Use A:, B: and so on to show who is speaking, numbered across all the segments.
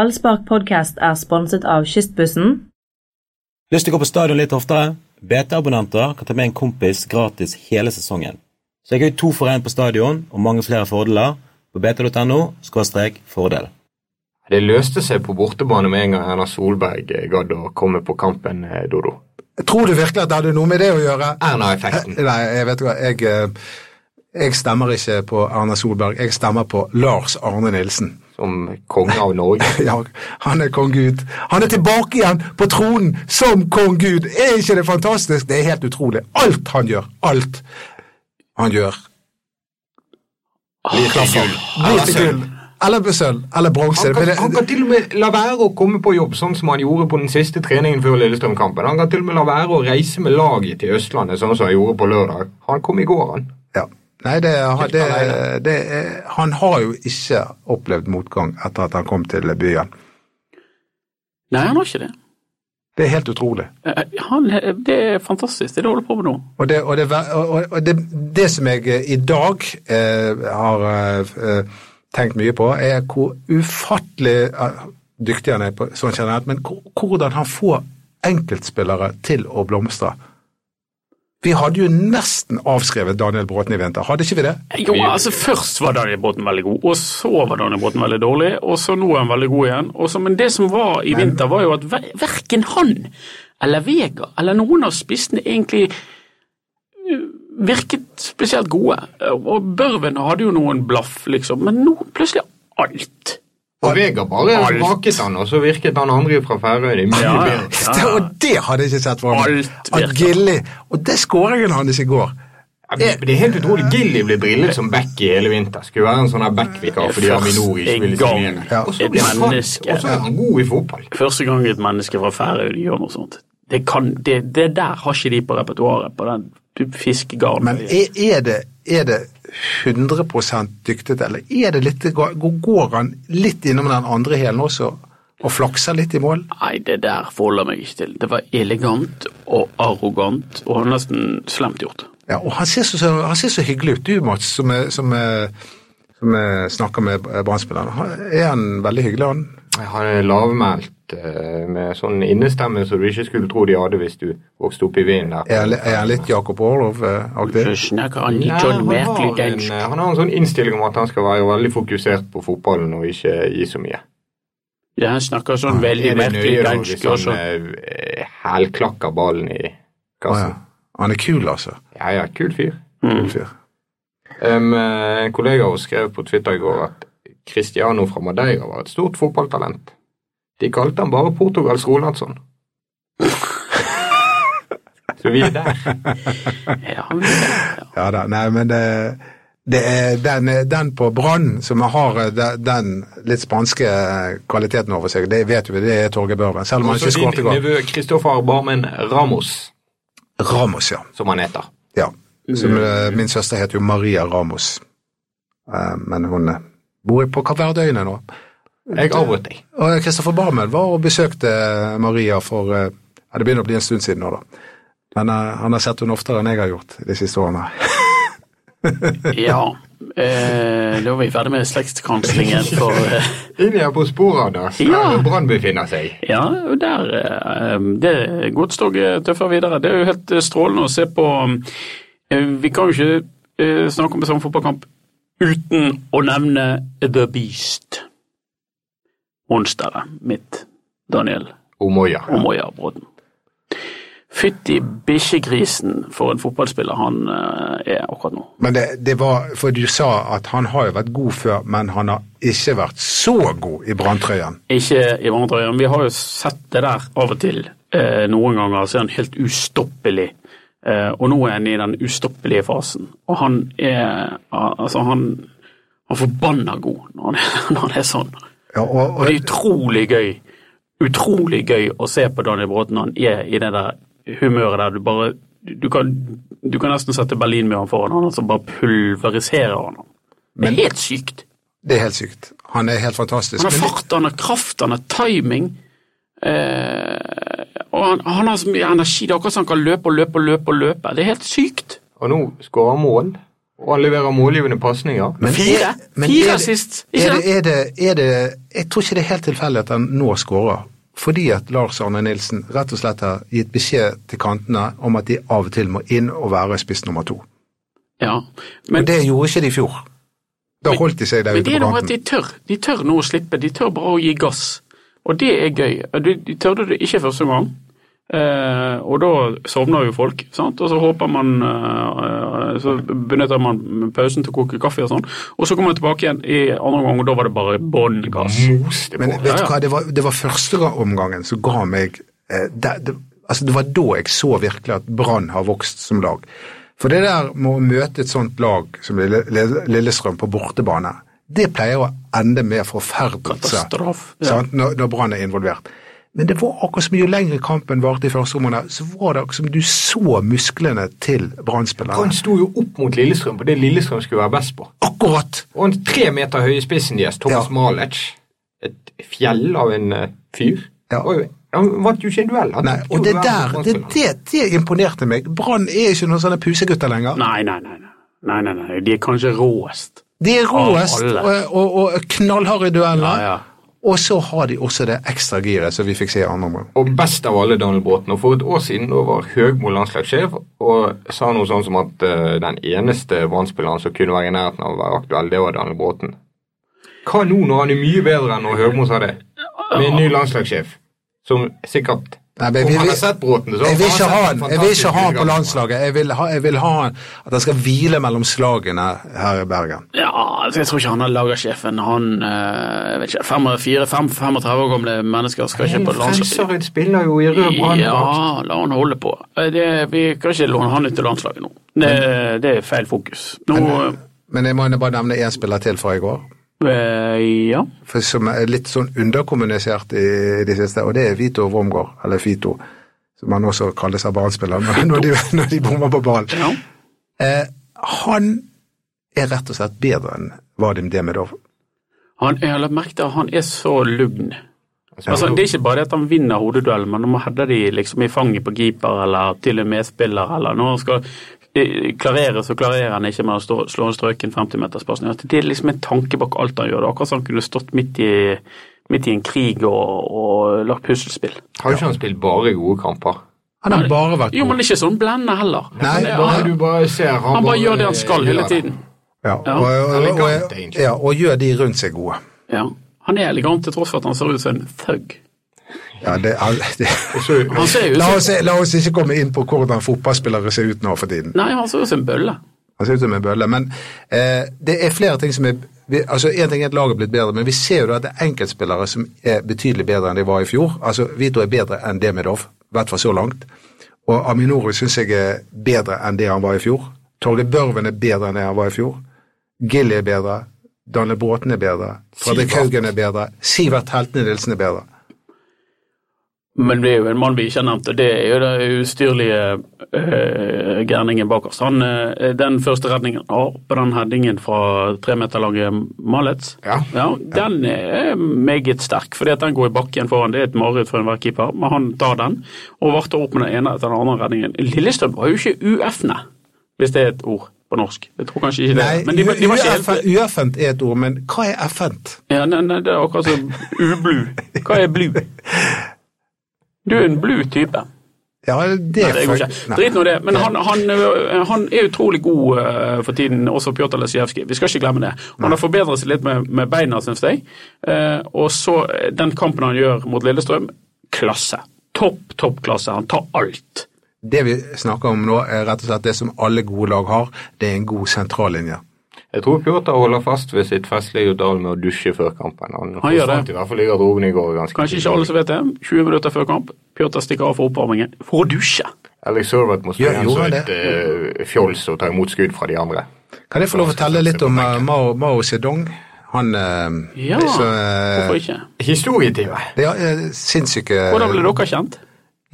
A: Ballspark podcast er sponset av Kystbussen.
B: Lyst til å gå på stadion litt oftere? BT-abonnenter kan ta med en kompis gratis hele sesongen. Så jeg har jo to for én på stadion og mange flere fordeler på bt.no fordel.
C: Det løste seg på bortebane med en gang Erna Solberg eh, gadd å komme på kampen, eh, Dodo.
D: Tror du virkelig at det hadde noe med det å gjøre?
C: Erna-effekten.
D: Nei, jeg vet hva, jeg, eh, jeg stemmer ikke på Erna Solberg, jeg stemmer på Lars Arne Nilsen.
C: Som konge av Norge.
D: Ja, han er kong Gud. Han er tilbake igjen på tronen som kong Gud. Er ikke det fantastisk? Det er helt utrolig. Alt han gjør, alt han gjør.
C: Blir til gull.
D: Blir til
C: Erna-sølv.
D: gull. Eller blir sølv, eller bronse.
C: Han
D: Men
C: kan,
D: det-
C: han kan til og med la være å komme på jobb, sånn som han gjorde på den siste treningen før Lillestrøm-kampen. Han kan til og med la være å reise med laget til Østlandet, sånn som han gjorde på lørdag. Han kom i går, han.
D: Ja. Nei, det, han- det,
C: alene.
D: det, er- han har jo ikke opplevd motgang etter at han kom til byen.
E: Nei, han har ikke det.
D: Det er helt utrolig.
E: Eh, Han, det er fantastisk, det er det han holder på med nå.
D: Og det, og det, ver- og- og- og det, det som jeg eh, i dag eh, har eh, tenkt mye på, er hvor ufattelig eh, dyktig han er på sånn generelt, men hvor- hvordan han får enkeltspillere til å blomstre. Vi hadde jo nesten avskrevet Daniel Bråten i vinter, hadde ikke vi det?
E: Jo, altså Først var Daniel Bråten veldig god, og så var Daniel Bråten veldig dårlig, og så nå er han veldig god igjen. Og så, men det som var i vinter, var jo at ver- verken han eller Vega eller noen av spissene egentlig eh, virket spesielt gode. Eh, Og Børven hadde jo noen blaff, liksom, men nå plutselig alt.
C: Og Vega bare
E: Alt.
C: vraket han, og så virket han andre fra Færøyene mye
E: Ja, ja.
C: bedre.
D: Det, og det hadde jeg ikke sett for meg.
E: Alt
D: At
E: virker.
D: Gilli Og det skåringen hans i går
C: Ja, men Det det er helt utrolig.
E: Eh.
C: Gilly ble drillet som back i hele vinter. Skulle være en sånn her back-vikar fordi Aminor ikke ville
E: Mm. Første
C: signere.
E: gang
C: Og så
E: et
C: blir han
E: menneske-
C: fant, og så er han god i fotball.
E: Første gang et menneske fra Færøyene gjør noe sånt. Det, kan, det, det der har ikke de på repertoaret, på den fiskegarden.
D: Men er, er, det, er det 100 dyktet, eller er det litt, går går han litt innom den andre hælen også og flakser litt i mål?
E: Nei, det der forholder jeg meg ikke til. Det var elegant og arrogant og nesten slemt gjort.
D: Ja, og han ser så, så, han ser så hyggelig ut, du Mats, som, er- som, er- som er- snakker med brann Er han veldig hyggelig, han?
C: Han er lavmælt eh, med sånn innestemme som du ikke skulle tro de hadde hvis du vokste opp i vinden der.
D: Er han, li- er han litt Jakob eh,
E: Så
D: Orlov-aktig?
E: snakker han litt
C: Nei,
E: sånn
C: han, har
E: merkelig
C: en,
E: dansk.
C: han har en sånn innstilling om at han skal være veldig fokusert på fotballen og ikke gi så mye.
E: Ja, han snakker sånn veldig
C: Er det
E: merkelig
C: nøye da hvis
E: dansk. og
C: han
E: sånn.
C: eh, hælklakker ballen i
D: Å ja.
C: kassen?
D: Han er kul, altså.
C: Ja ja, kul fyr.
E: Mm.
D: Kul fyr.
C: Em, eh, en kollega av oss skrev på Twitter i går at Cristiano fra Madeira var et stort fotballtalent. De kalte han bare Portugals Rolandsson. så vi er der.
E: Ja, han vil det, ja.
D: Ja da, nei, men det, det er den, den på Brann som har eh, de- den litt spanske eh, kvaliteten over seg, det vet vi, det er Torgeir Børven. Selv om han
C: Og
D: ikke
C: så
D: skåret i
C: din
D: går.
C: nevø Kristoffer Barmen Ramos,
D: Ramos, ja.
C: som han heter.
D: ja.
C: Mm.
D: Som, eh, min søster heter jo Maria Ramos, Eh, men hun eh, bor på Kapp Verdøyene nå.
C: Jeg avbrøt deg.
D: Og Kristoffer Barmen var og besøkte Maria for eh, ja, Det begynner å bli en stund siden nå, da. Men eh, han har sett henne oftere enn jeg har gjort de siste årene.
E: ja. Eh, da var vi ferdig med slektskanslingen for eh,
C: Inn her på sporet av det,
E: Ja.
C: der Brann befinner seg.
E: Ja, og der eh, Det er eh, godstoget tøffer videre. Det er jo helt eh, strålende å se på. Eh, Vi kan jo ikke eh, snakke om en sånn fotballkamp uten å nevne The Beast. Monsteret mitt, Daniel
C: Omoya.
E: Omoya Bråten. Fytti bikkjegrisen for en fotballspiller han eh, er akkurat nå.
D: Men det, det var, for du sa at han har jo vært god før, men han har ikke vært så god i branntrøyen.
E: Ikke i vandreøyen. Vi har jo sett det der av og til. Eh, noen ganger så er han helt ustoppelig. Eh, og nå er han i den ustoppelige fasen. Og han er al- Altså, han, han forbanna god når han, er, når han er sånn.
D: Ja, og,
E: Og
D: og,
E: det er utrolig gøy. Utrolig gøy å se på Daniel Bråten når han er i det der humøret der du bare Du kan, du kan nesten sette Berlinmuren foran han, altså bare pulveriserer han. Det er helt sykt.
D: det er helt sykt. Han er helt fantastisk.
E: Han har
D: Men-
E: fart, han har kraft, han har timing. Eh, og han, han har så mye energi. Det er akkurat som han kan løpe og løpe og løpe. og løpe. Det er helt sykt.
C: Og nå skårer mål. Og han leverer målgivende pasninger.
D: Men
E: Fire?
D: er- men
E: Fire
D: er det-
E: sist, ikke
D: Er det, er det, er det, jeg tror ikke det er helt tilfeldig at han nå skårer. Fordi at Lars Arne Nilsen rett og slett har gitt beskjed til kantene om at de av og til må inn og være spiss nummer to.
E: Ja.
D: Men
E: Men,
D: det gjorde ikke de i fjor. Da holdt de seg der
E: men
D: ute på
E: det er noe at de
D: kanten.
E: tør. De tør nå å slippe. De tør bare å gi gass. Og det er gøy. Du, de tørde det ikke første gang. Eh, og da sovner jo folk, sant? og så håper man eh, Så benytter man pausen til å koke kaffe og sånn. Og så kommer man tilbake igjen i andre gang, og da var det bare bånn gass.
C: Moste på.
D: Men
E: Ja,
D: vet du
E: ja.
D: hva, det var, det var første omgangen som ga meg eh, det, det, altså det var da jeg så virkelig at Brann har vokst som lag. For det der med å møte et sånt lag som Lille, Lille- Lillestrøm på bortebane, det pleier å ende med forferdelse
E: Katastrofe, ja.
D: sant, når, når Brann er involvert. Men det var akkurat som jo lengre kampen varte i første omgang, så var det akkurat som du så musklene til
C: Han
D: Brann-spillerne.
C: sto jo opp mot Lillestrøm på det Lillestrøm skulle være best på.
D: Akkurat!
C: Og en tre meter høye spissen deres, Thomas
D: Ja.
C: Malic, et fjell av en eh, fyr
D: Ja.
C: var jo- Han vant jo ikke en duell. Han
D: Nei,
C: tapte jo
D: og det
C: duellen
D: der,
C: mot
D: det,
C: Brann-spilleren.
D: det, det imponerte meg. Brann er ikke noen sånne pusegutter lenger.
E: Nei, nei, nei. nei. Nei, nei, nei. De er kanskje råest.
D: De er råest
E: Av alle.
D: og, og, og knallharde i dueller.
E: Ja, ja.
D: Og så har de også det ekstra giret som vi fikk se i andre omgang.
C: Og best av alle Daniel Bråten. Og for et år siden da var Høgmo landslagssjef og sa noe sånn som at eh, den eneste Brann-spilleren som kunne være i nærheten av å være aktuell, det var Daniel Bråten. Hva nå når han er mye bedre enn når Høgmo sa det? Med en ny landslagssjef, som sikkert
D: Nei, men
C: Om
D: vi-
C: han
D: vi-
C: har sett Bråten, så
D: Jeg vil ikke
C: han
D: ha
C: sett
D: han,
C: en
D: jeg vil ikke
C: fantastisk
D: ha han på
C: utgang.
D: landslaget. Jeg vil ha, jeg vil ha han, at han skal hvile mellom slagene her i Bergen.
E: Ja, altså, jeg tror ikke han er lagersjefen. Han eh, jeg vet ikke, 34-35 år gamle mennesker skal ikke
C: Men
E: på landslaget.
C: Frelsesarøyd spiller jo i rød brann.
E: Ja, la han holde på. Eh, Det, vi kan ikke låne han ut til landslaget nå. Det, det er feil fokus. Nå
D: Men jeg må jo bare nevne én spiller til fra i går,
E: eh, Ja.
D: for som er litt sånn underkommunisert i det siste, og det er Vito Wormgård, eller Fito, som han også kalles av barnespiller når de, når de bommer på ballen.
E: ja.
D: Eh, han er rett og slett bedre enn Vadim Demidov.
E: Han, jeg har lagt merke til at han er så lugn. Altså, det er ikke bare det at han vinner hodeduellen, men han header de liksom i fanget på keeper eller til en medspiller, eller når han skal eh, klarere, så klarerer han ikke med å stå, slå en strøken 50-meterspasning. Altså, Det er liksom en tanke bak alt han gjør. Det er akkurat som han kunne stått midt i, midt i en krig og, og lagt puslespill.
C: Har ikke han spilt bare gode kamper?
D: Han har bare vært
E: Jo,
D: god.
E: men ikke sånn blendende heller.
D: Nei,
E: han,
C: Bare
E: han,
C: du bare ser han,
E: han bare gjør det han skal hele tiden.
D: Ja, og, og, og,
C: Elegant,
D: og,
C: egentlig.
D: ja, og gjør de rundt seg gode.
E: Ja. Han er elegant til tross for at han ser ut som en thug.
D: Ja, det, al- det.
E: Han ser ut
D: La,
E: som
D: oss, la oss ikke komme inn på hvordan fotballspillere ser ut nå for tiden.
E: Nei, han ser ut som en bølle.
D: Han ser ut som en bølle, men eh, det er flere ting som er vi, altså Én ting er at laget er blitt bedre, men vi ser jo da at det er enkeltspillere som er betydelig bedre enn de var i fjor. Altså, Vito er bedre enn Demidov, i hvert fall så langt. Og Aminoro syns jeg er bedre enn det han var i fjor. Torgeir Børven er bedre enn det han var i fjor. Gilly er bedre. Danne Bråten er bedre. Fredrik
C: Sivert.
D: Haugen er bedre. Sivert Heltene Nilsen er bedre.
E: Men det er jo en mann vi ikke har nevnt, og det er jo den ustyrlige eh, gærningen bak oss. Han, eh, den første redningen han har på den headingen fra tremeterlange Malets,
C: Ja.
E: den er meget sterk. fordi at den går i bakken foran. Det er et mareritt for enhver keeper, men han tar den og varter opp med den ene etter den andre redningen. Lillestrøm var jo ikke UF-ene, hvis det er et ord på norsk. Jeg tror kanskje ikke det.
D: Nei,
E: men de, var- de var ikke helt
D: ueffent ueffent er et ord, men hva er effent?
E: ja, nei, nei, det er akkurat som ublu. Hva er blu? Du er en blu type.
D: Ja, det,
E: Nei, det går ikke.
D: Nei.
E: Drit nå i det. Men han, han, ø, han er utrolig god ø, for tiden, også Pjotr Lesijevskij. Vi skal ikke glemme det. Han har forbedret seg litt med, med beina, syns jeg. Eh, og så eh, den kampen han gjør mot Lillestrøm, klasse. Topp, topp klasse. Han tar alt.
D: Det vi snakker om nå, er rett og slett det som alle gode lag har. Det er en god sentrallinje.
C: Jeg tror Pjotr holder fast ved sitt festlige dal med å dusje før kampen. Han,
E: gjør
C: forsvant
E: det.
C: I hvert fall i garderoben i går ganske
E: Kanskje ikke alle som vet det. 20 minutter før kamp, Pjotr stikker av for oppvarmingen for å dusje.
C: Alex Servett må
D: Ja,
C: spille igjen
D: gjorde
C: som
D: han
C: et eh, fjols og ta imot skudd fra de andre.
D: Kan jeg få lov å fortelle litt om eh, Mao, Mao Zedong? Han eh,
E: Ja,
D: så, eh, eh,
E: hvorfor ikke?
C: Historietime!
D: det er, eh, sinnssyke
E: Hvordan ble dere kjent?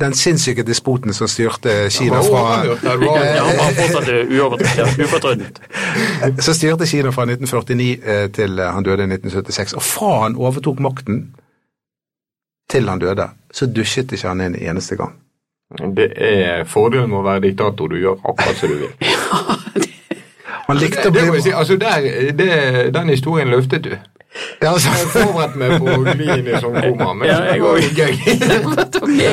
D: Den sinnssyke despoten som styrte Kina
C: var
D: fra,
C: overgjort, det var-
E: Ja, han var fortsatt ø, uovertreffet, ufortrødent.
D: eh, som styrte Kina fra 1949 eh, til eh, han døde i 1976. Og fra han overtok makten til han døde, så dusjet ikke han en eneste gang.
C: Det er fordelen med å være diktator. Du gjør akkurat som du vil.
D: Man likte å
C: Det, det må
D: bli
C: jeg si, altså der, det, Den historien løftet du.
D: ja,
C: Jeg
D: altså,
C: forberedte meg på å gli inn i sånn koma, men
E: Ja, jeg
C: det var jo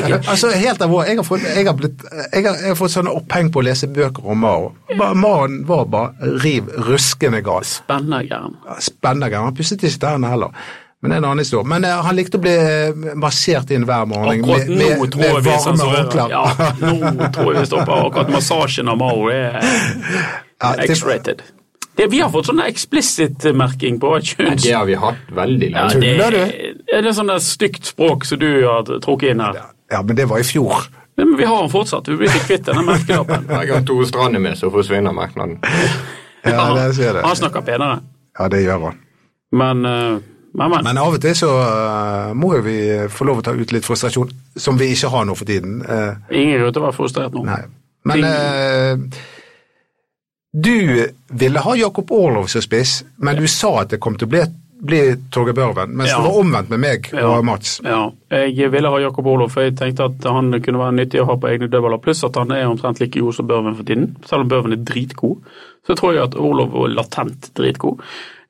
C: gøy.
D: altså, helt alvorlig. Jeg har fått, jeg har blitt, jeg har, jeg har fått sånne oppheng på å lese bøker om Mao. Ba- Maoen var bare riv ruskende gal.
E: Spennageren.
D: Spennende. greier. Han pusset ikke tærne heller. Men det er en annen historie. Men eh, han likte å bli eh, massert inn hver morgen
E: Akkurat
D: med,
E: nå
D: med,
E: tror jeg
D: med
E: vi
D: varme
E: sensurerer.
D: håndklær.
E: Ja, nå tror jeg vi stopper. Akkurat massasjen av Mao er
D: Ja, det-
E: X-rated. Det, vi har fått sånn explicit-merking på kjønns...
C: Det har vi hatt veldig
E: Ja,
C: lenge.
E: det,
D: Tuller
E: er det sånn der stygt språk som du har trukket inn her?
D: Ja, men det var i fjor.
E: Men vi har den fortsatt. Vi blir ikke kvitt denne merkelappen.
C: Hver gang Tore Strand er med, så forsvinner merknaden.
D: Ja, det ser
E: Han
D: jeg.
E: snakker penere.
D: Ja, det gjør han.
E: Men, eh, men, men.
D: Men av og til så eh, må jo vi eh, få lov å ta ut litt frustrasjon, som vi ikke har nå for tiden. Eh,
E: Ingen grunn til å være frustrert nå.
D: Nei. Men eh, du ville ha Jakob Orlov som spiss, men du sa at det kom til å bli, bli Torgeir Børven, mens
E: Ja.
D: det var omvendt med meg og Mats.
E: Ja. Jeg ville ha Jakob Olof, for jeg tenkte at han kunne være nyttig å ha på egne dødballer. Pluss at han er omtrent like god som Børven for tiden. Selv om Børven er dritgod, så tror jeg at Olof var latent dritgod.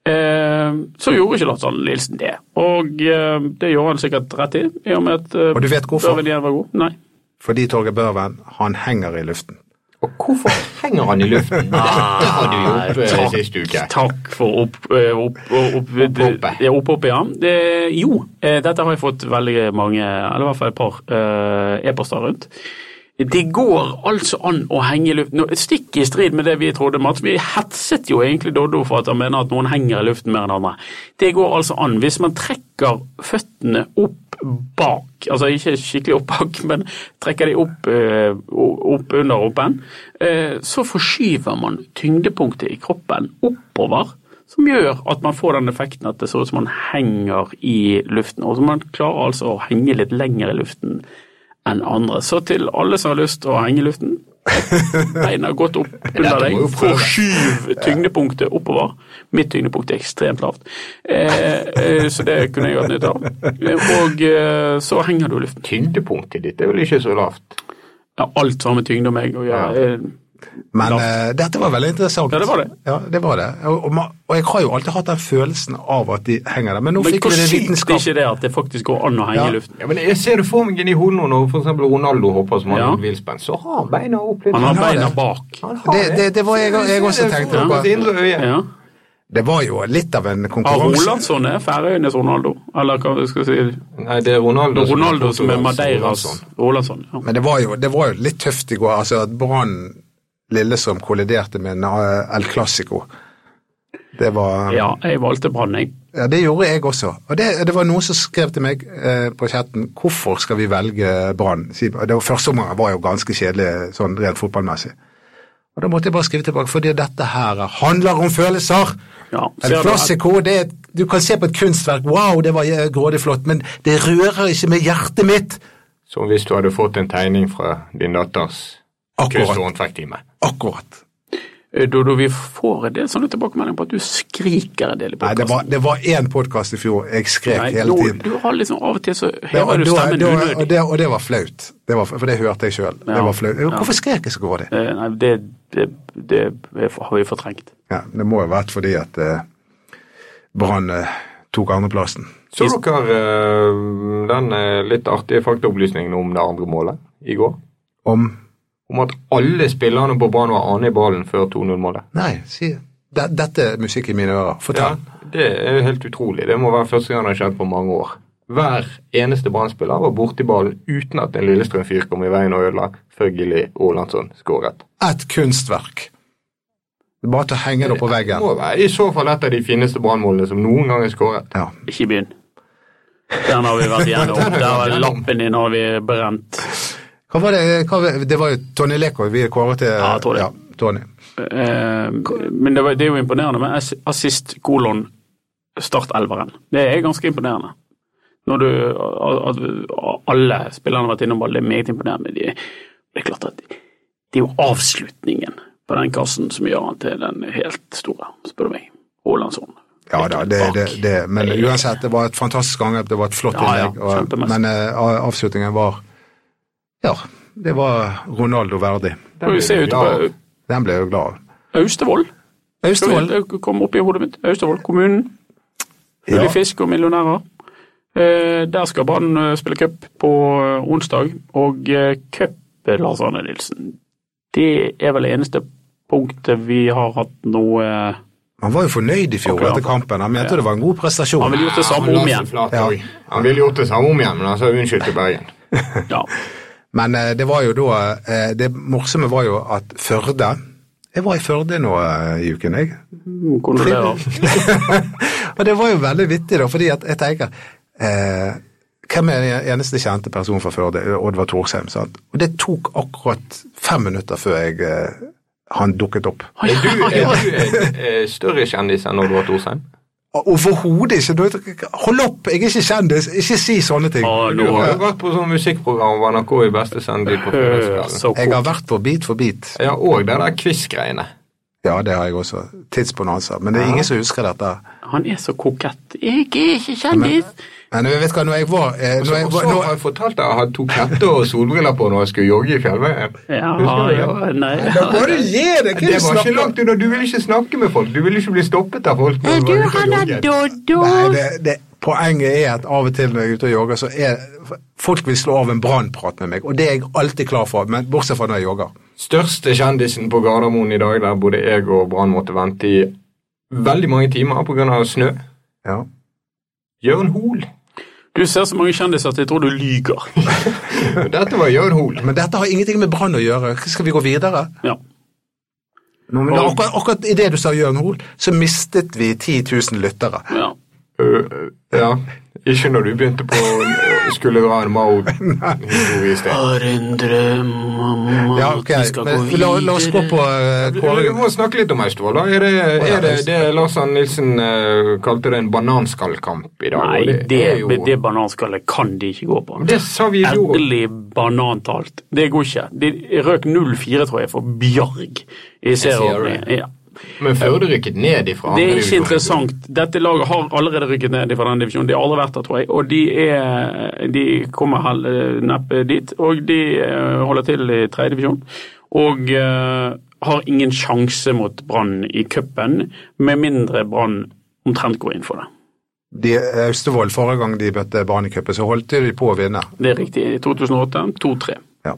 E: Eh, så gjorde ikke Lars Arne Nilsen det, og eh, det gjorde han sikkert rett i. i og med at eh,
D: Og du vet hvorfor?
E: Børven igjen var god. Nei.
D: Fordi Torgeir Børven, han henger i luften.
C: Og hvorfor henger han i luften? Dette har du gjort eh, sist uke.
E: Ah, Takk for opp, eh, opp, opp, opp,
C: Opphoppet.
E: ja, opphoppet, ja. Det, jo, eh, dette har jeg fått veldig mange, eller i hvert fall et par eh, e-poster rundt. Det går altså an å henge i luften. Nå, Stikk i strid med det vi trodde, Mats. Vi hetset jo egentlig Doddo for at han mener at noen henger i luften mer enn andre. Det går altså an. Hvis man trekker føttene opp bak, altså ikke skikkelig opp bak, men trekker de opp, eh, opp under rumpen, eh, så forskyver man tyngdepunktet i kroppen oppover som gjør at man får den effekten at det ser ut som man henger i luften. Og så man klarer altså å henge litt lenger i luften enn andre. Så til alle som har lyst til å henge i luften, beina godt opp under
C: Dette
E: deg,
C: må jo prøve.
E: forskyv tyngdepunktet oppover. Mitt tyngdepunkt er ekstremt lavt, eh, eh, så det kunne jeg hatt nytte av. Eh, Og eh, så henger du i luften.
C: Tyngdepunktet ditt er vel ikke så lavt?
E: Ja, alt har med tyngde og meg å gjøre. Eh,
D: Men
E: Lavt.
D: eh, dette var veldig interessant.
E: Ja, det var det.
D: Ja, det var det. Og, og, ma- og jeg har jo alltid hatt den følelsen av at de henger der, men nå
E: Men
D: fikk
E: hvor
D: vi det
E: sykt er
D: vitenskap.
E: ikke det at det faktisk går an å henge
D: Ja.
E: i luften?
C: Ja, men Jeg ser det for meg inni hodet nå når for eksempel Ronaldo hopper som han
E: Ja.
C: ja. villspenn, så har han beina opp litt.
E: Han har
D: har
E: beina
D: det.
E: bak.
C: Han har
D: Det, det, det var jeg, jeg også
C: Det er
D: tenkte
C: for-
D: på.
C: hans indre øye.
E: Ja.
D: Det var jo litt av en
E: Har
D: konkurranse.
E: Rolandsson er Færøyenes Ronaldo? Eller hva skal jeg si?
C: Nei, det er Ronaldo,
E: Ronaldo som er altså. Madeiras
C: Ronaldsson.
E: Rolandsson. Ja.
D: Men det var, jo, det var jo litt tøft i går. altså At Brann Lillestrøm kolliderte med en eh, El Clásico. Det var
E: ja, jeg valgte Brann, jeg.
D: Ja, det gjorde jeg også. Og det, det var noen som skrev til meg eh, på chatten hvorfor skal vi velge Brann. Si- og det var- Første omgang var jo ganske kjedelig sånn rent fotballmessig. Og Da måtte jeg bare skrive tilbake, fordi dette her handler om følelser!
E: Ja,
D: El
E: ser du at-
D: Clásico, det er et- du kan se på et kunstverk, wow, det var eh, grådig flott, men det rører ikke med hjertet mitt!
C: Som hvis du hadde fått en tegning fra din datters kunst- og
D: Akkurat.
C: håndverktime.
D: akkurat.
E: Eh, Dodo, vi får en del sånne tilbakemeldinger på at du skriker en del i
D: Nei, det var-
E: podkasten.
D: det var én podkast i fjor jeg skrek hele
E: nå-
D: tiden.
E: Du har liksom av og til så
D: Det, og,
E: hever du
D: da-
E: stemmen
D: da-
E: unødig.
D: og, det, og det var flaut, det var, for det hørte jeg sjøl.
E: Ja.
D: Hvorfor skrek jeg så grådig?
E: Eh, Nei, det, det, det er- har vi fortrengt.
D: Ja, det må jo ha vært fordi at eh, Brann eh, tok andreplassen.
C: Så dere eh, den eh, litt artige faktaopplysningen om det andre målet i går?
D: Om
C: Om at alle spillerne på banen var ane i ballen før 2-0-målet.
D: Nei, si de, Dette er musikk i mine
C: Ja,
D: ører. Fortell.
C: det er jo helt utrolig. Det må være første gang det har skjedd på mange år. Hver eneste Brann-spiller var borti ballen uten at en Lillestrøm-fyr kom i veien og ødela før Gilly Ålandsson skåret.
D: Et kunstverk. Det er Bare til å henge det opp på
C: Det
D: veggen.
C: må være i så fall et av de fineste Brann-målene som noen gang er skåret.
D: Ja.
E: Ikke begynn. Den har vi vært igjennom. Der var lappen din har vi brent.
D: Hva var det? Hva, var- det var jo Tony Leko vi kåret til
E: Ja, Tony.
D: Tony.
E: Eh, Men det, var, det er jo imponerende med ass- assist kolon startelveren. Det er ganske imponerende. Når du, at alle spillerne har vært innom ball, det er meget imponerende. Men de, det er klart at det er jo avslutningen på den kassen som gjør han til den helt store, spør du meg. Haalandsson.
D: Ja da, det, det, det, men uansett, det var et fantastisk angrep, det var et flott
E: Ja, ja,
D: innlegg. og-
E: kjempemessig.
D: men eh, avslutningen var Ja, det var Ronaldo verdig.
E: Og Vi ser ute
C: Ja.
E: på
D: Den ble jeg jo glad av.
E: Austevoll.
D: Austevoll.
E: Det kom opp i hodet mitt. Austevoll, kommunen. Hull i fisk og millionærer. Eh, der skal Brann eh, spille cup på eh, onsdag, og eh, cupen, Lars Arne Nilsen, det er vel det eneste punktet vi har hatt noe eh,
D: Han var jo fornøyd i fjor
E: Ok, ja.
D: etter kampen. Han mente det var en god prestasjon.
E: Han ville gjort det samme om igjen.
D: Ja.
C: Ja. Han ville gjort det samme om igjen, men han sa unnskyld til Bergen.
E: Ja.
D: Men eh, det var jo da eh, Det morsomme var jo at Førde Jeg var i Førde nå eh, i uken, jeg.
E: Mm, Kondolerer.
D: Og det var jo veldig vittig, da, fordi at jeg tenker eh, Hvem er den eneste kjente personen fra Førde? Oddvar Thorsheim. sant? Og det tok akkurat fem minutter før jeg, eh, han dukket opp.
C: Er du, er du en eh, større kjendis enn Odd Vart Orsheim?
D: Overhodet ikke! Du- Hold opp! Jeg er ikke kjendis! Ikke si sånne ting.
E: Ja,
C: Du
E: nå
C: har jo vært på sånn musikkprogram hvor NRK i beste sendetid på
E: Hør
C: Fredrikskvelden.
E: så
D: Jeg
E: kort.
D: har vært på Bit for bit.
C: Ja, og det der quiz-greiene.
D: Ja, det har jeg også. Tidsbonanza. Men det er ingen som husker dette.
E: Han er så kokett. Jeg er ikke kjendis!
D: Men jeg vet hva, når jeg var, eh,
C: Og
D: når jeg
C: Altså, så
D: var
C: har
D: når,
C: jeg fortalt deg at jeg hadde to katter og solbriller på når jeg skulle jogge i fjellveien.
E: Ja,
C: Husker du det?
E: ja, nei.
D: Da må du gi deg! hva
C: Det var ikke
D: er du snakker om?
C: langt unna. Du ville ikke snakke med folk. Du ville ikke bli stoppet av folk. når var ute og jogget.
E: Doddo!
D: Nei, det, det, poenget er at av og til når jeg er ute og jogger, så er folk vil slå av en brannprat med meg, og det er jeg alltid klar for, men bortsett fra når jeg jogger.
C: Største kjendisen på Gardermoen i dag, der både jeg og Brann måtte vente i veldig mange timer pga. snø.
D: Ja.
C: Jørn Hoel.
E: Du ser så mange kjendiser at jeg tror du lyger.
C: Dette var Jørn Hoel.
D: Men dette har ingenting med brann å gjøre. Skal vi gå videre?
E: Ja.
D: Nå, men akkurat, akkurat i det du sa, Jørn Hoel, så mistet vi 10 000 lyttere.
E: ja.
C: Øh, øh, ja. Ikke når du begynte på øh, skulle dra en Mao-historie i sted.
E: Har en drøm om at
D: Ja, ok,
E: vi skal
D: men
E: gå
D: la,
E: videre.
D: la oss gå på eh,
C: Vi
D: Kåre.
C: må snakke litt om Austevoll. da. Er det, er det det Lars Arne Nilsen eh, kalte det en bananskallkamp i dag?
E: Nei,
C: og
E: det, det,
C: er jo, det,
E: bananskallet kan de ikke gå på.
C: sa vi i fjor.
E: Endelig banantalt. Det går ikke. De røk 0-4, tror jeg, for Bjarg i serien.
C: serien.
E: Ja.
C: Men Førde rykket ned ifra. andre
E: Det er
C: divisjon.
E: ikke interessant. Dette laget har allerede rykket ned fra den divisjonen. De har aldri vært der, tror jeg. Og de, er, de kommer hel, neppe dit. Og de eh, holder til i tredje divisjon. Og eh, har ingen sjanse mot Brann i cupen, med mindre Brann omtrent går inn for det.
D: De, eh, Austevoll, forrige gang de møtte Barnecupen, så holdt de på å vinne.
E: Det er riktig. I 2008 2-3.
D: Ja.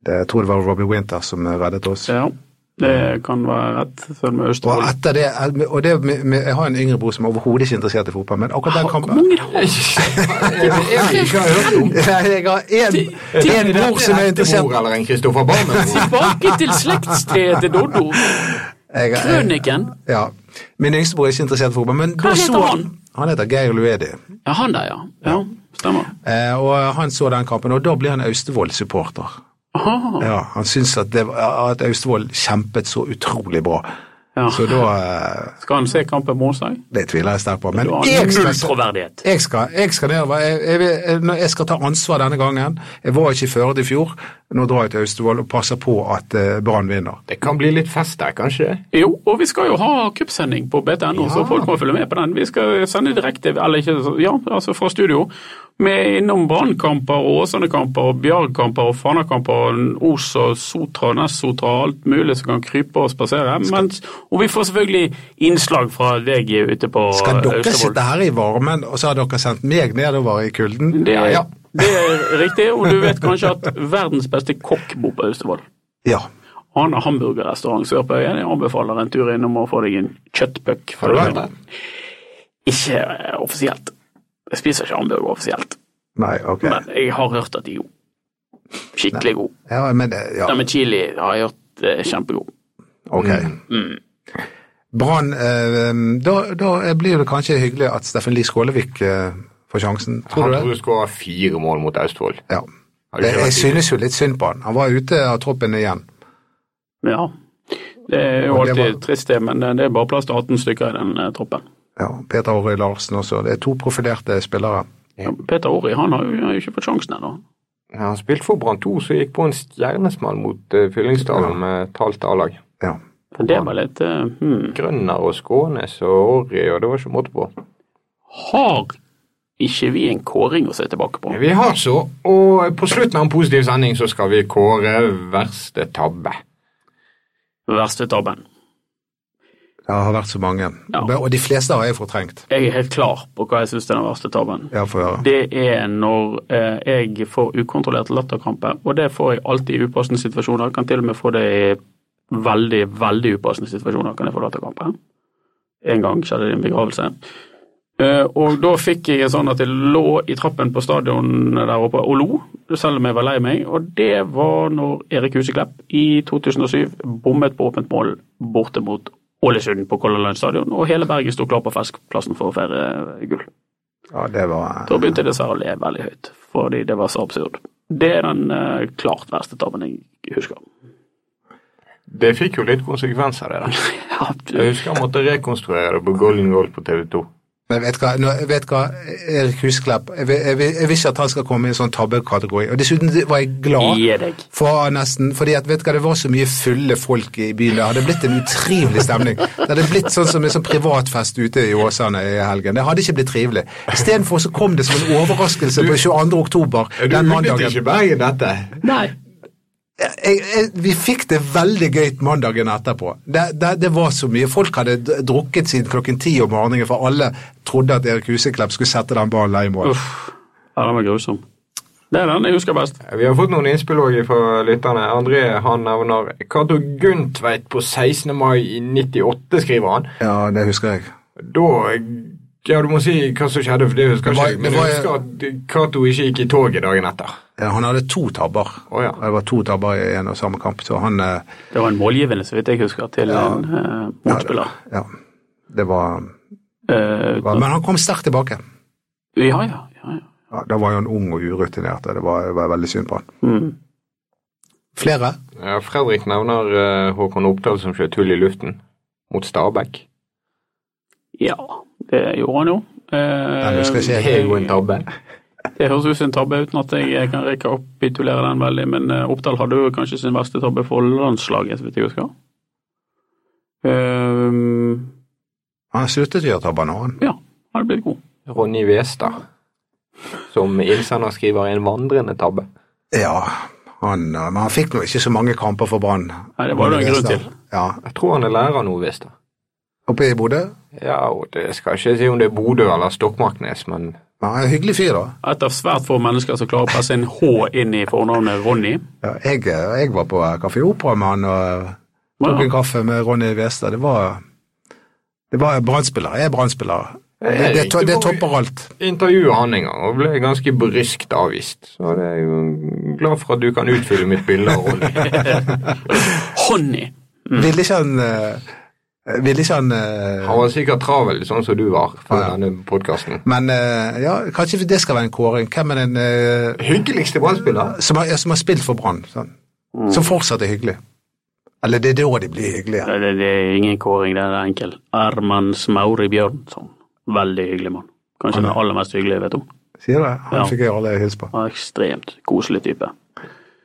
D: Det, jeg tror det var Robbie Winter som eh, reddet oss.
E: Ja, det kan være rett. Selv med
D: Og
E: Østfold.
D: etter det, eh, og det med, med, Jeg har en yngre bror som er overhodet ikke er interessert i fotball, men akkurat den
E: Hvor
D: kampen
E: mange har
C: Jeg ikke har hørt om.
D: Nei, Jeg har en, en bror som er interessert
C: Bror eller en Kristoffer Barmen.
E: Tilbake til slektstreet til Doddo.
D: jeg, jeg,
E: Krøniken.
D: ja. Min yngste bror er ikke interessert i fotball, men da
E: heter
D: så
E: han?
D: Han heter Geir Luedi,
E: Ja, han der, ja. ja stemmer.
D: eh, og han så den kampen, og da ble han Austevoll-supporter.
E: Aha,
D: Ja, Han syntes at, det, var- at Austevoll kjempet så utrolig bra.
E: ja.
D: Så da eh,
E: Skal han se kampen på onsdag?
D: Det tviler jeg sterkt på. Men
E: Du har
D: jeg
E: null
D: skal,
E: troverdighet.
D: Jeg skal, jeg skal nedover. Jeg, jeg, vil- når jeg skal ta ansvar denne gangen. Jeg var ikke i Førde i fjor. Nå drar jeg til Austevoll og passer på at eh, Brann vinner.
C: Det kan bli litt fest der, kanskje?
E: Jo, og vi skal jo ha cupsending på BTNO, så folk må følge med på den. Vi skal sende direkte, eller ikke, ja, altså fra studio, med innom Brannkamper og Åsane-kamper og Bjarg-kamper og Fana-kamper og Os og Sotra og Nest-Sotra og alt mulig som kan krype og spasere. Mens, og vi får selvfølgelig innslag fra deg ute på
D: Skal dere sitte
E: Austevoll.
D: her i varmen, og så har dere sendt meg nedover i kulden?
E: Det er,
C: Ja, ja.
E: det er riktig, og du vet kanskje at verdens beste kokk bor på Austevoll.
D: Ja.
E: Han har hamburgerrestaurant sør på øyen. Jeg anbefaler en tur innom og få deg en kjøttpuck.
C: Har du vært der?
E: Ikke eh, offisielt. Jeg spiser ikke hamburger offisielt,
D: Nei, ok.
E: men jeg har hørt at de er gode. Skikkelig gode.
D: Ja, men, eh, ja,
E: Den med chili har jeg hørt er kjempegod.
D: ok.
E: Mm.
D: Brann eh, da, da blir det kanskje hyggelig at Steffen Lie Skålevik eh, får sjansen. Tror
C: Han
D: du
C: tror
D: det?
C: du skåra fire mål mot Austevoll.
D: Ja.
C: Har du
D: Jeg,
C: ikke
D: jeg
C: vært i-
D: synes jo litt synd på han. Han var ute av troppen igjen.
E: Ja. Det er jo
D: Og det
E: alltid
D: var-
E: trist, det, men eh, det er bare plass til 18 stykker i den eh, troppen.
D: Ja, Peter Åre Larsen også. Det er to profilerte spillere.
E: Ja, Peter Ori han har jo, han har jo ikke fått sjansen ennå.
C: Ja, Han spilte for Brann 2, så gikk på en stjernesmell mot uh, Fyllingsdalen med talt A-lag.
D: Ja.
E: Men Det var litt eh, hmm.
C: Grønner og Skånes og Orri, og det var ikke måte på.
E: Har ikke vi en kåring å se tilbake på?
C: Vi har så, og på slutten av en positiv sending så skal vi kåre verste tabbe.
E: Verste tabben.
D: Det har vært så mange.
E: Ja.
D: Og de fleste har jeg fortrengt.
E: Jeg er helt klar på hva jeg syns er den verste tabben.
D: Ja, få høre.
E: Det er når eh, jeg får ukontrollerte latterkramper, og det får jeg alltid i upassende situasjoner. Kan til og med få det i veldig, veldig upassende situasjoner. kan jeg få latterkramper. En gang skjedde det i en begravelse. Eh, og da fikk jeg sånn at jeg lå i trappen på stadionet der oppe og lo, selv om jeg var lei meg. Og det var når Erik Huseklepp i 2007 bommet på åpent mål borte mot Ålesund på Color Line stadion, og hele Bergen sto klar på Feskplassen for å feire gull.
D: Ja, det var
E: Da begynte jeg dessverre å le veldig høyt, fordi det var så absurd. Det er den eh, klart verste tabben jeg husker.
C: Det fikk jo litt konsekvenser, det der.
E: Ja,
C: Jeg husker jeg måtte rekonstruere det på Golden Goal på TV 2.
D: Men vet du hva, nå, vet du hva Erik Husklepp jeg, vil- jeg, vil- jeg vil ikke at han skal komme i en sånn tabbekategori. Og dessuten var jeg glad
E: Gi deg.
D: for nesten, fordi at, vet du hva, det var så mye fulle folk i byen. Det hadde blitt en utrivelig stemning. Det hadde blitt sånn som en sånn privatfest ute i Åsane i helgen. Det hadde ikke blitt trivelig. Istedenfor så kom det som en overraskelse på 22. oktober
C: Du
D: den
C: vunnet
D: mandagen.
C: ikke Bergen dette.
E: Nei.
D: jeg, jeg, vi fikk det veldig gøy mandagen etterpå. Det, det, det var så mye. Folk hadde d- drukket siden klokken ti om morgenen, for alle trodde at Erik Huseklepp skulle sette den ballen i mål.
E: Uff. Ja, den var grusom. Det er den jeg husker best.
C: Vi har fått noen innspill også fra lytterne. André han nevner Cato Gundtveit på 16. mai i 98, skriver han.
D: Ja, det husker jeg.
C: Da Ja, du må si hva som skjedde, for det husker
D: Det
C: ikke
D: var-
C: jeg. Men
D: det
C: jeg
D: var-
C: husker at Cato ikke gikk i toget dagen etter.
D: Ja, Han hadde to tabber.
C: Å, ja.
D: Det var to tabber i en og samme kamp, så han eh,
E: Det var en målgivende, så vidt jeg husker, til en eh, motspiller.
D: Ja. Det var,
E: Eh,
D: var Men han kom sterkt tilbake.
E: ja, ja. ja, ja.
D: Ja, da var jo han ung og urutinert, og det var, det var veldig synd på han.
E: Mm.
D: Flere?
C: Ja, Fredrik nevner eh, Håkon Oppdal som skjøt hull i luften mot Stabæk.
E: ja, det gjorde han jo.
D: Den
E: Eh,
D: husker ikke
C: Det er jo en tabbe.
E: Det høres ut som en tabbe, uten at jeg jeg kan rekke å oppitulere den veldig, men eh, Oppdal hadde jo kanskje sin verste tabbe for landslaget, så vidt jeg husker. Ehm,
D: Han sluttet å gjøre tabber nå, han.
E: ja, han hadde blitt god.
C: Ronny Westad, som innsender skriver en vandrende tabbe.
D: Ja, han, eh, men han fikk nå ikke så mange kamper for Brann.
E: Nei, det var det en grunn til.
D: Ja.
C: Jeg tror han er lærer nå, Westad.
D: Oppe i Bodø?
C: Ja, og det skal ikke si om det er Bodø eller Stokmarknes, men
D: Ja, han er en hyggelig fyr, da.
E: Et av svært få mennesker som klarer å presse en H inn i fornavnet Ronny.
D: Ja, jeg, eh, jeg var på Kafé Opera med han og tok en
E: Ja,
D: kaffe med Ronny Westad. Det var, det var Brann-spillere. Jeg er Brann-spiller. Det, det, to- det topper alt.
C: intervjuet han en gang og ble ganske bryskt avvist. Så det er jo glad for at du kan utfylle mitt bilde av Ronny.
E: Honny!
D: Ville ikke han eh, Ville ikke han eh,
C: Han var sikkert travel, sånn som du var, for
D: Ja.
C: denne podkasten.
D: Men eh, ja, kanskje det skal være en kåring. Hvem er den eh,
C: Hyggeligste brannspiller.
D: som, har, som har spilt for Brann? Sånn.
E: Mm.
D: Som fortsatt er hyggelig. Eller det er da de blir hyggelige.
E: Det, det, det er ingen kåring, det er enkel. Erman Smauri Bjørnson. Veldig hyggelig mann. Kanskje den aller mest hyggelige jeg vet om.
D: Sier du det? Han
E: Ja.
D: fikk jeg alle hilse på.
E: Han er Ekstremt koselig type.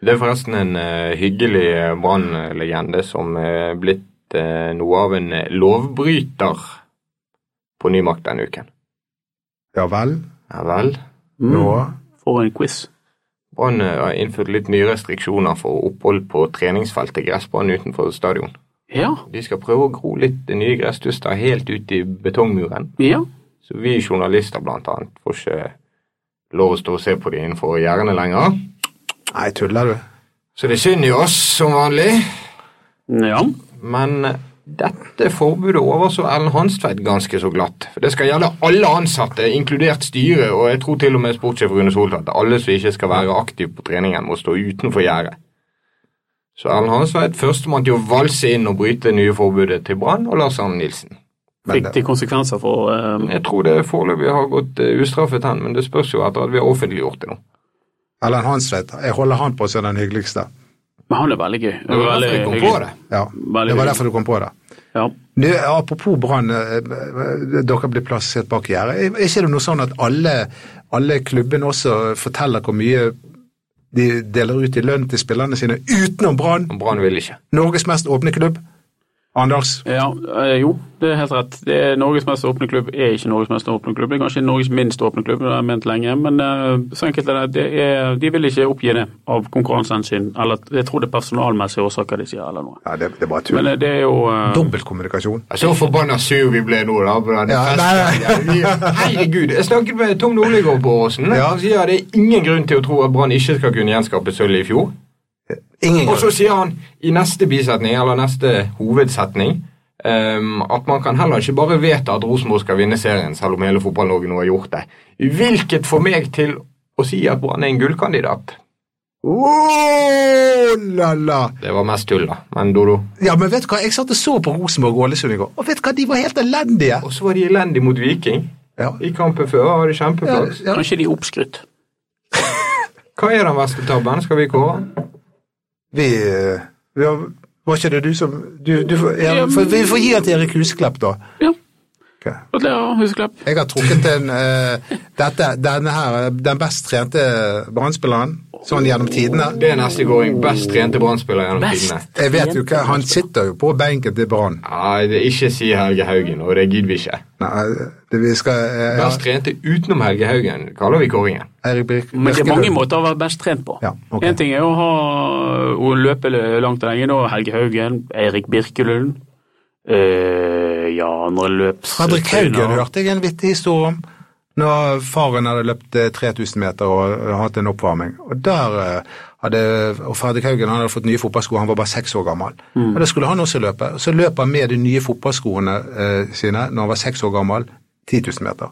C: Det er forresten en eh, hyggelig eh, brannlegende som er blitt eh, noe av en lovbryter på Nymakt denne uken.
D: Ja vel?
C: Ja vel.
E: Mm.
D: Nå?
E: For en quiz.
C: Brann eh, har innført litt nye restriksjoner for opphold på treningsfeltet gressbanen utenfor stadion.
E: Ja,
C: De skal prøve å gro litt nye gresstuster helt ut i betongmuren.
E: ja.
C: Så vi journalister blant annet får ikke eh, lov å stå og se på de innenfor gjerdene lenger.
D: Nei, tuller du?
C: Så det er synd i oss, som vanlig.
E: Ja.
C: Men dette forbudet overså Ellen Hanstveit ganske så glatt. For Det skal gjelde alle ansatte, inkludert styret, og jeg tror til og med sportssjef Rune Soltvedt. Alle som ikke skal være aktive på treningen, må stå utenfor gjerdet. Så Ellen Hanstveit førstemann til å valse inn og bryte det nye forbudet til Brann og Lars Arne Nilsen.
D: Men,
E: Fikk de konsekvenser for eh,
C: Jeg tror det foreløpig har gått eh, ustraffet hen, men det spørs jo etter at vi har offentliggjort det nå.
D: Erlend Hansveit. eh, Jeg holder han på som den hyggeligste.
E: Men han er veldig gøy.
C: Det var derfor jeg kom på det.
D: Ja,
E: Veldig
D: det var
E: hyggelig.
D: derfor du kom på det.
E: Ja.
D: Nå, apropos Brann, eh, eh, dere blir plassert bak gjerdet. Er er ikke det noe sånn at alle, alle klubbene også forteller hvor mye de deler ut i lønn til spillerne sine utenom Brann?
C: Men Brann vil ikke.
D: Norges mest åpne klubb. Anders?
E: Ja, eh, jo, det er helt rett. Det er Norges mest åpne klubb er ikke Norges mest åpne klubb. Det er kanskje Norges minst åpne klubb, det har jeg ment lenge. Men eh, så enkelt er det. det er, de vil ikke oppgi det av konkurransehensyn. Eller jeg tror det er personalmessige årsaker de sier, eller noe.
D: Ja, det, det er bare
E: Men
D: tull.
E: eh, det er jo eh,
D: Dobbeltkommunikasjon.
C: Jeg Så forbanna sur vi ble nå, da. på den
D: Ja,
C: festen. Herregud. Jeg snakket med Tom Nordligård på Åsen.
D: Ja.
C: Han sier det er ingen grunn til å tro at Brann ikke skal kunne gjenskape sølvet i fjor.
D: Ingen
C: Og så
D: grunn.
C: sier han i neste bisetning, eller neste hovedsetning, ehm, at man kan heller ikke bare vedta at Rosenborg skal vinne serien, selv om hele Fotball-Norge nå har gjort det. Hvilket får meg til å si at Brann er en gullkandidat.
D: Oh, la, la.
C: Det var mest tull, da. Men Dodo.
D: Ja, men vet du hva? Jeg satt og så på Rosenborg og Ålesund i går, og vet du hva? De var helt elendige.
C: Og så var de elendige mot Viking.
D: Ja.
C: I kampen før var det
D: Ja,
C: kjempeflaks.
D: ja.
E: kanskje de er oppskrytt.
C: Hva er den verste tabben? Skal vi kåre den?
D: Vi, eh, vi har, Var ikke det du som du, du, får- ja,
E: Ja,
D: for,
E: men-
D: Vi får gi den til Erik Husklepp, da.
E: Ja.
D: Ok.
E: Gratulerer, Huseklepp.
D: Jeg har trukket en, eh, dette, denne her, eh, den best trente eh, brannspilleren sånn gjennom tidene.
C: Det er neste kåring. Best trente brannspiller gjennom
E: Best.
C: tidene.
D: Jeg vet jo ikke, Han sitter jo på benken til Brann.
C: Nei, det er ikke si Helge Haugen, og det gidder vi ikke.
D: Nei, det- vi skal eh, ja,
C: Best trente utenom Helge Haugen kaller vi kåringen.
D: Eirik Birk.
E: Men det er
D: Birkelund.
E: mange måter å være best trent på.
D: Ja,
E: En
D: ok.
E: ting er å, ha, å løpe langt og lenge. Da Helge Haugen, Eirik Birkelund eh, Ja, andre løps...
D: Fredrik Haugen hørte jeg en vittig historie om. Når faren hadde løpt eh, 3000 meter og eh, hatt en oppvarming. Og der eh, hadde, og Fredrik Haugen han hadde fått nye fotballsko, han var bare seks år gammel. Og Da skulle han også løpe. Og så løp han med de nye fotballskoene eh, sine når han var seks år gammel, 10 000 meter.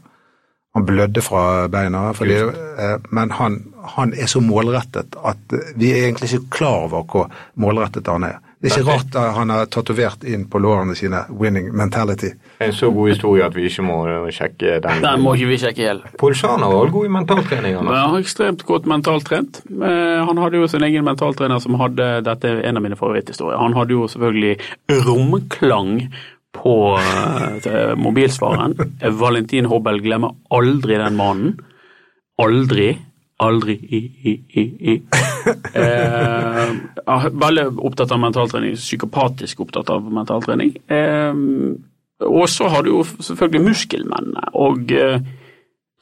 D: Han blødde fra beina, fordi, eh, men han, han er så målrettet at eh, vi er egentlig ikke klar over hvor målrettet han er. Det er ikke rart eh, han har tatovert inn på lårene sine 'winning mentality'.
C: En så god historie at vi ikke må øh, sjekke den.
E: Den må ikke vi sjekke i hjel.
C: Polsjaner var også god i mentaltrening. han.
E: Men Han er ekstremt godt mentalt trent. Eh, Han hadde jo sin egen mentaltrener som hadde Dette er en av mine favoritthistorier. Han hadde jo selvfølgelig romklang på eh, mobilsvareren. Eh, Valentin Hobbel glemmer aldri den mannen. Aldri. Aldri i, i, i, i. Eh, ja, veldig opptatt av mentaltrening. Psykopatisk opptatt av mentaltrening. Eh, og så har du jo selvfølgelig muskelmennene. og... Eh,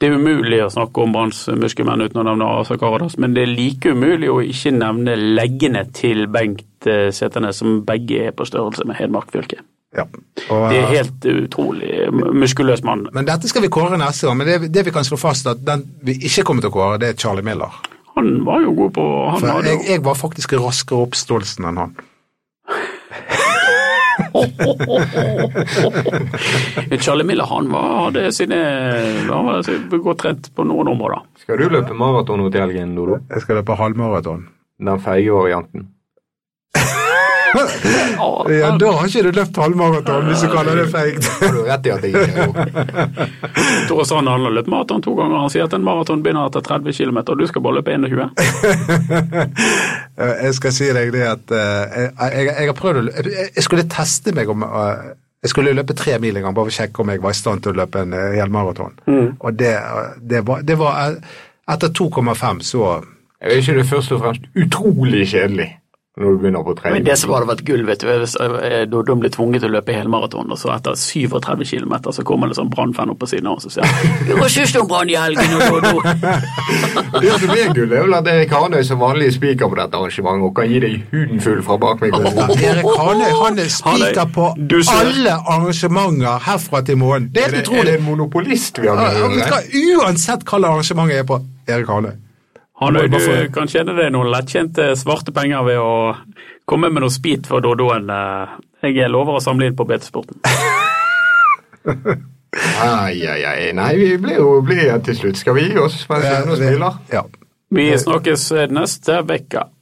E: det er umulig å snakke om Branns muskelmenn uten å nevne Asa Karadas, men det er like umulig å ikke nevne leggene til Bengt eh, Setene, som begge er på størrelse med Hedmark fylke.
D: Ja. Og, eh,
E: Det er helt utrolig muskuløs mann.
D: men dette skal vi kåre neste gang, men det, det vi kan slå fast at den vi ikke kommer til å kåre, det er Charlie Miller.
E: Han var jo god på han
D: For
E: hadde
D: jeg,
E: jo.
D: jeg var faktisk raskere opp Stoltsen enn han.
E: Charlie Miller han var, hadde sine Han var så godt trent på noen områder.
C: Skal du løpe maraton nå til helgen, Dodo?
D: Jeg skal løpe halvmaraton.
C: Den feige varianten.
E: Ja,
D: Ja,
E: han
D: da har ikke du løpt halvmaraton, hvis du kaller det feigt.
C: Har du rett i at jeg ikke har gjort.
E: Tore Sand han har løpt maraton to ganger. Han sier at en maraton begynner etter 30 km, og du skal bare løpe 21.
D: Eh, Jeg skal si deg det at eh, jeg, jeg, jeg har prøvd å lø- jeg, jeg skulle teste meg om eh, Jeg skulle løpe tre mil en gang, bare for å sjekke om jeg var i stand til å løpe en eh, hel maraton.
E: Mm.
D: Og det, eh, det var, det var eh, Etter 2,5 så
C: Er ikke det først og fremst utrolig kjedelig når du begynner på trening?
E: Men det som hadde vært gull, vet du, er hvis eh, da de ble tvunget til å løpe helmaraton, og så etter 37 km så kommer det sånn brannfan opp på siden av oss og sier han, Du var sist om brann i helgen, og da, da.
C: Det som er gull, er vel at Erik Hanøy som vanlig spiker på dette arrangementet og kan gi deg huden full fra bak mikrofonen.
D: Erik Hanøy han er speaker på
E: Du ser.
D: alle arrangementer herfra til i morgen. Det er
C: Er det,
D: helt
C: er det
D: utrolig.
C: en monopolist vi har
D: Ja,
C: med å
D: vet du
C: gjøre?
D: hva? Uansett hva slags arrangement jeg er på, Erik Hanøy.
E: Han,
D: Må jeg
E: du
D: bare få-
E: kan tjene deg noen lettjente svarte penger ved å komme med noe spit for Dodoen. eh, Jeg lover å samle inn på BT-sporten.
C: Ai, ai, ai. Nei, vi ble jo blide til slutt. Skal vi gi oss mens vi
D: Ja,
C: ennå
D: det-
C: spiller?
D: Ja.
E: Vi snakkes eh, neste uke.